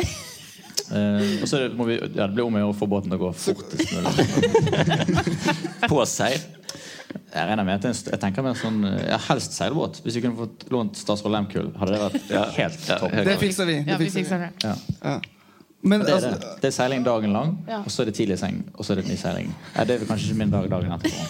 S6: Eh, og så er det- må vi, ja, det blir om å gjøre å få båten til å gå fortest mulig.
S5: På seil.
S6: Jeg regner med at det er en st- jeg tenker med en sånn, eh, ja, helst seilbåt. Hvis vi kunne fått lånt statsråd Lehmkuhl, hadde det
S5: Ja.
S6: vært helt
S5: Ja,
S6: topp.
S5: helt
S2: Det fikser vi.
S3: Ja,
S2: Det
S3: vi
S2: fikser vi.
S3: fikser det.
S6: Ja.
S2: Ja. Men
S6: Det er,
S2: altså,
S6: det. det er seiling dagen lang,
S3: Ja.
S6: og så er det tidlig seng, og så er det ny seiling. Nei, det er vel kanskje ikke min dag dagen etterpå.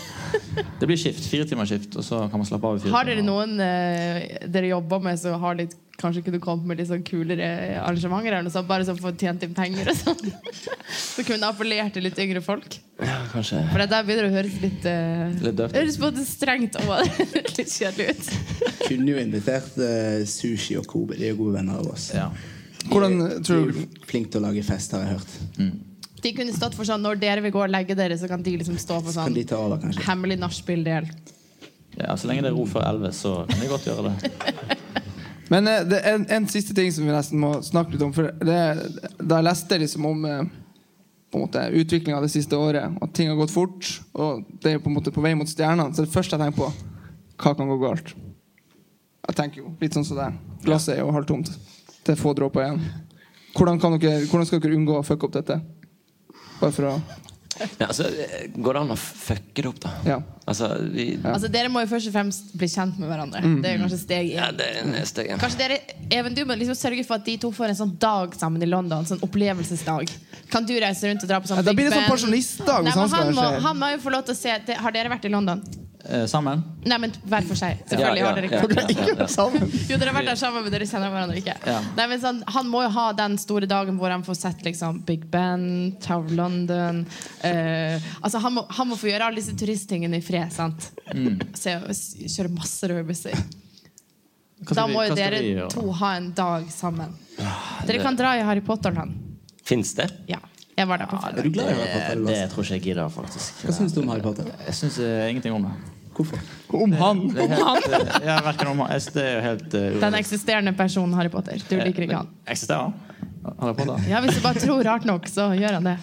S6: Det blir skift. Fire timers skift, og så kan man slappe av i fire
S3: Har dere
S6: timer.
S3: noen eh, dere jobber med som har litt Kanskje kunne kommet med litt sånn kulere arrangementer? Eller noe sånt, bare sånn for å tjene inn penger og sånn. Så kunne appellert til litt yngre folk.
S5: Ja, kanskje.
S3: For det der begynner å høres litt eh,
S6: Litt døvt.
S3: Høres både strengt og litt kjedelig ut.
S4: Kunne jo invitert eh, Sushi og Kobe. De er jo gode venner av oss.
S6: Ja.
S2: hvordan
S4: Eh, De
S2: tror
S4: er
S2: du
S4: jo flinke til å lage fest, har jeg hørt.
S3: De kunne stått for sånn når dere vil gå og legge dere, så kan de liksom stå for
S4: Kan
S3: sånn
S4: de ta over, kanskje?
S3: hemmelig nachspiel-del.
S6: ja, Så lenge det er ro før elleve, så kan vi godt gjøre det.
S2: Men eh, det er en, en siste ting som vi nesten må snakke litt om. For det, da jeg leste liksom om eh, på en måte utviklinga det siste året, at ting har gått fort, og det er på en måte på vei mot stjernene, så det første jeg tenker på, hva kan gå galt? Jeg tenker jo litt sånn som deg. Glasset er jo halvtomt. Det er få dråper igjen. Hvordan, kan dere, hvordan skal dere unngå å fucke opp dette? Bare for å
S5: Ja, altså, eh, går det an å fucke det opp, da?
S2: Ja.
S5: Altså, vi,
S3: Altså, dere må jo først og fremst bli kjent med hverandre.
S2: Mm.
S3: Det er kanskje steg
S5: ja,
S3: én.
S5: det er neste gang.
S3: Kanskje dere, Even, du må liksom sørge for at de to får en sånn dag sammen i London. Sånn opplevelsesdag. Kan du reise rundt og dra på sånn
S2: Ja, da
S3: Big
S2: blir det sånn
S3: Ben?
S2: pensjonistdag
S3: Nei,
S2: hvis
S3: men
S2: han skal
S3: han, må,
S2: arrangere.
S3: han må jo få lov til å se det, Har dere vært i London?
S6: Eh, sammen?
S3: Nei, men hver for seg.
S5: Ja,
S3: Selvfølgelig
S5: ja,
S3: har dere
S5: ja,
S3: ikke
S5: ja, ja, ja.
S3: Jo, dere har vært der sammen, men dere kjenner hverandre ikke.
S6: Ja.
S3: Nei, men sånn, han må jo ha den store dagen hvor han får sett liksom, Big Ben, Tower of London eh, altså, han, må, han må få gjøre alle disse turisttingene i fred. sant?
S5: Mm.
S3: Se, s- kjøre masse rødbusser.
S6: Hva skal
S3: Da
S6: vi-
S3: må
S6: hva
S3: jo
S6: skal vi
S3: dere
S6: gjøre?
S3: to ha en dag sammen. Dere
S5: det-
S3: kan dra i Harry Potter-land.
S5: Fins det?
S3: Ja. Jeg var der på fredag.
S4: Er du glad i Harry
S6: Eh,
S4: Potter?
S6: Det
S4: Lars?
S6: tror ikke jeg gidder, faktisk.
S4: Hva syns du om Harry Potter?
S6: Jeg syns eh, ingenting om det.
S4: Hvorfor?
S2: Om han!
S6: det er helt, eh, ja, hverken om jeg synes Det er jo helt eh,
S3: Den eksisterende personen Harry Potter. Du liker ikke han.
S6: Eksisterer han? Harry Potter?
S3: Ja, Hvis du bare tror rart nok, så gjør han det.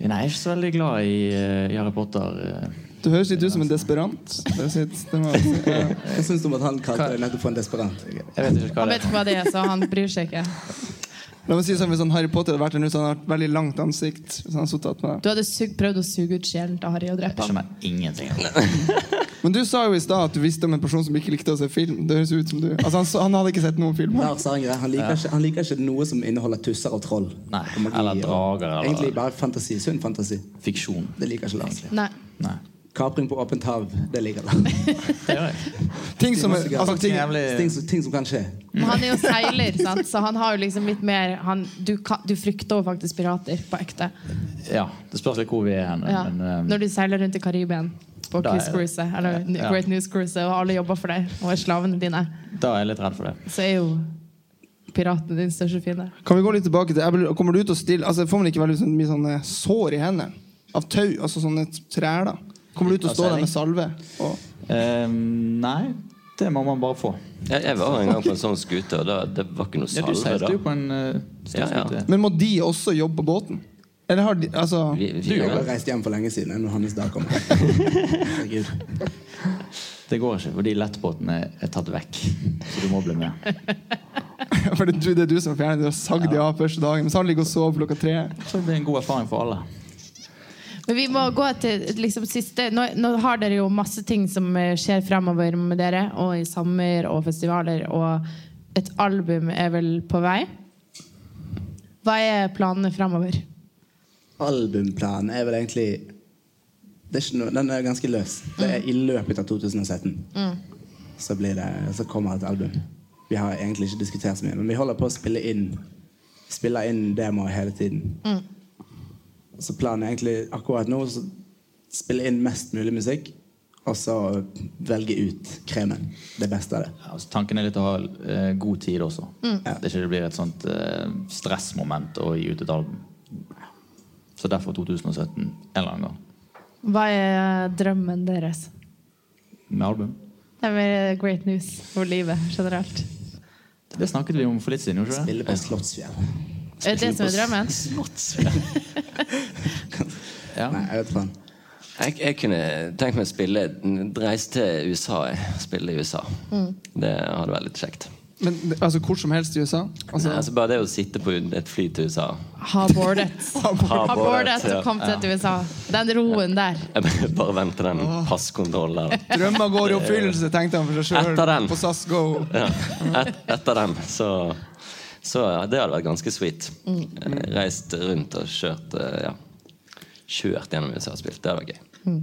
S6: Nei, jeg er ikke så veldig glad i, eh, i Harry Potter. eh.
S2: Du høres litt ut som en desperant. Det er sitt, det må jeg si. Ja.
S4: Hva syns du om at han kalte deg nettopp for en desperant?
S6: Jeg vet
S3: Han
S6: ikke hva det er.
S3: vet ikke hva det er, så han bryr seg ikke.
S2: La meg si det sånn, Hvis han Harry Potter hadde vært der nå, så hadde han hatt veldig langt ansikt. Hvis han hadde suttet med det.
S3: Du hadde sug, prøvd å suge ut sjelen til Harry og drepe
S6: Jeg
S3: ham.
S6: skjønner ingenting.
S2: Men du sa jo i stad at du visste om en person som ikke likte å se film. Det høres ut som du Altså, han, så- han hadde ikke sett noen film.
S4: Lars har en greie. Han liker, ikke, han liker ikke noe som inneholder tusser og troll.
S6: Nei,
S4: Og magi
S6: eller
S4: og-
S6: drager, eller-
S4: Egentlig bare fantasi. Sunn fantasi.
S6: Fiksjon.
S4: Det liker ikke Lars.
S3: Nei.
S6: Nei.
S4: Kapring på åpent hav, det liker han.
S6: Det gjør jeg.
S2: Ting som, er- altså, ting,
S4: Ting, som- ting som kan skje.
S3: Men han er jo seiler, sant? så han har jo liksom litt mer han, du, kan, du frykter jo faktisk pirater på ekte.
S6: Ja, det spørs litt hvor vi er hen.
S3: Ja.
S6: Men, eh,
S3: Når du seiler rundt i Karibien på
S6: Da er-
S3: Cruise Cruise, eller
S6: Ja.
S3: Great News Cruise, og alle jobber for deg og er slavene dine,
S6: da er jeg litt redd for det.
S3: så er jo piraten din største fiende.
S2: Kan vi gå litt tilbake til jeg blir- Kommer du til å stille Altså Får man ikke veldig sånn, mye sånne sår i hendene? Av tau? Altså sånne trær, da? Kommer du til å stå der med salve? Og,
S6: Eh, nei, det må man bare få.
S5: Jeg, jeg var en gang på en sånn skute, og da, det var ikke noe
S6: Ja, du
S5: salve
S6: seilte
S5: da.
S6: jo på en uh,
S5: Ja, ja.
S2: men må de også jobbe på båten? Eller har de Altså
S5: Vi, vi,
S4: Jeg har reist hjem for lenge siden når Hannes da kom. Herregud.
S6: Det går ikke, fordi lettbåten er, er tatt vekk. Så du må bli med.
S2: For det, er du- det er du som har fjernet det og sagd de av første dagen. Mens han ligger og sover klokka tre.
S6: Jeg tror det blir en god erfaring for alle.
S3: Men vi må gå til liksom, siste nå, nå har dere jo masse ting som eh, skjer fremover med dere, og i sommer og festivaler, og et album er vel på vei. Hva er planene fremover?
S4: Albumplanen er vel egentlig det er ikke noe, Den er ganske løs. Det er i løpet av 2017 så, blir det, så kommer et album. Vi har egentlig ikke diskutert så mye, men vi holder på å spille inn Spiller inn demoer hele tiden. Så planen er egentlig akkurat nå så spille inn mest mulig musikk, og så velge ut kremen. Det beste av det.
S6: Ja, altså, tanken er litt å ha eh, god tid også.
S3: Mm.
S6: At ikke det blir et sånt eh, stressmoment å gi ut et album. Så derfor 2017 en eller annen gang.
S3: Hva er drømmen deres?
S6: Med album.
S3: Det er great news for livet generelt.
S6: Det snakket vi om for litt siden, gjorde vi
S4: Spille på Slottsfjell.
S3: Er det det som er drømmen?
S6: ikke det? Ja.
S4: Nei, jeg vet faen.
S5: Jeg, jeg kunne tenkt meg å spille Reise til USA. Jeg. Spille i USA.
S3: Mm.
S5: Det hadde vært litt kjekt.
S2: Men altså hvor som helst i USA?
S5: Nei,
S2: Altså,
S5: altså bare det å sitte på et fly til USA
S3: Ha boardet. Ha boardet og kom til et USA. Den roen der.
S5: Jeg bare- Bare vente den passkontrollen der.
S2: drømmer går i oppfyllelse, tenkte han for seg
S5: Etter
S2: sjøl.
S5: den.
S2: På SAS Go.
S5: Ja. Et, etter den, så, så ja, Det hadde vært ganske sweet. Eh, Reist rundt og kjørt eh, ja. Kjørt gjennom USA og spilt. Det hadde vært gøy.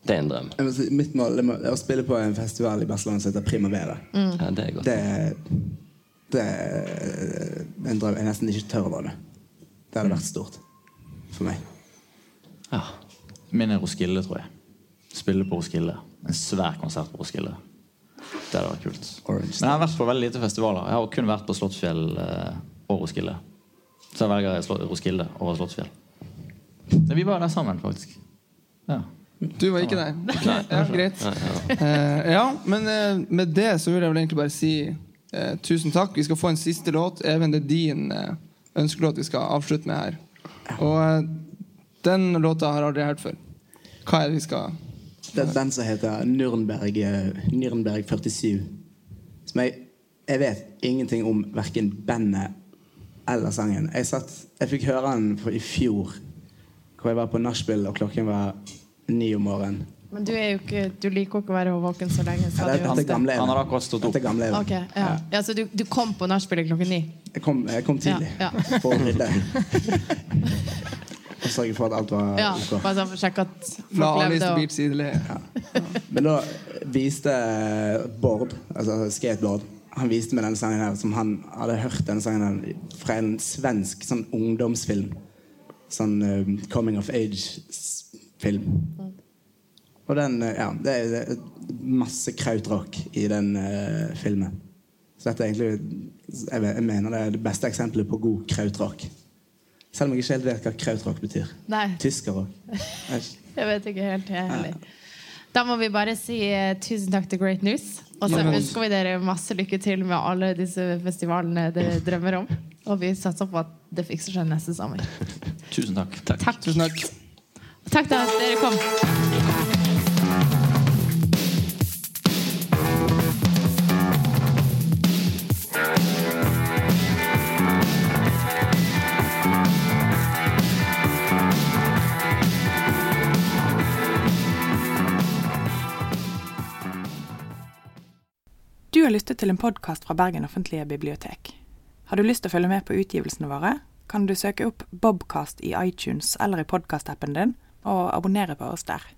S5: Det er en drøm.
S4: Jeg må si, Mitt mål det må- er å spille på en festival i Barcelona som heter Primavera.
S5: Ja, det er godt.
S4: Det, det er en drøm jeg nesten ikke tør å drømme. Det hadde vært stort for meg.
S5: Ja.
S6: Min er Roskilde, tror jeg. Spille på Roskilde. En svær konsert på Roskilde. Det hadde vært kult.
S4: Orange
S6: Men jeg har vært på veldig lite festivaler. Jeg har kun vært på Slottsfjell eh, og Roskilde. Så jeg velger Slå- Roskilde over Slottsfjell. Men vi var der sammen, faktisk. Ja.
S2: Du var ikke der. Ok, Ja, greit. Eh, ja, men eh, med det så vil jeg vel egentlig bare si eh, tusen takk. Vi skal få en siste låt. Even, det er din eh, ønskelåt vi skal avslutte med her. Og eh, den låta har jeg aldri hørt før. Hva er det vi skal
S4: Det er den som heter Nürnberg, eh, Nürnberg 47. Som jeg, jeg vet ingenting om verken bandet eller sangen. Jeg, satt, jeg fikk høre den for i fjor, hvor jeg var på nachspiel, og klokken var ni om morgenen.
S3: Men du, er jo ikke, du liker jo ikke å være våken så lenge. Så
S4: Ja,
S3: hadde
S4: det-
S3: jo-
S4: dette er gamle
S6: han har akkurat stått opp.
S4: Dette er gamle Even.
S3: Ok, ja. ja så du, du kom på nachspielet klokken ni?
S4: Jeg kom, jeg kom tidlig
S3: Ja,
S4: for å rydde. Og sørge for at alt var
S3: Ja,
S4: ok.
S3: bare sånn for å sjekke at
S2: La
S3: folk
S2: Alice
S3: levde
S2: the
S3: og
S2: Beep sidele?
S4: Men da viste Bård, altså skateboard, han viste meg denne sangen her som han hadde hørt denne sangen her fra en svensk sånn ungdomsfilm. Sånn eh, coming of age-film. Og den, eh, ja, det er det er masse krautrock i den eh, filmen. Så dette er egentlig jeg, vet- jeg mener det er det beste eksempelet på god krautrock. Selv om jeg ikke helt vet hva krautrock betyr.
S3: Nei,
S4: Tyskerrock. Jeg-
S3: jeg vet ikke helt, jeg heller. Da må vi bare si eh, tusen takk til Great News. Og så
S2: Ja.
S3: ønsker vi dere masse lykke til med alle disse festivalene dere drømmer om. Og vi satser på at det fikser seg neste sommer.
S6: Tusen takk.
S3: Takk.
S2: Tusen takk.
S3: Takk da at dere kom.
S1: Du har lyttet til en podkast fra Bergen offentlige bibliotek. Har du lyst til å følge med på utgivelsene våre, kan du søke opp Bobcast i iTunes eller i podkastappen din, og abonnere på oss der.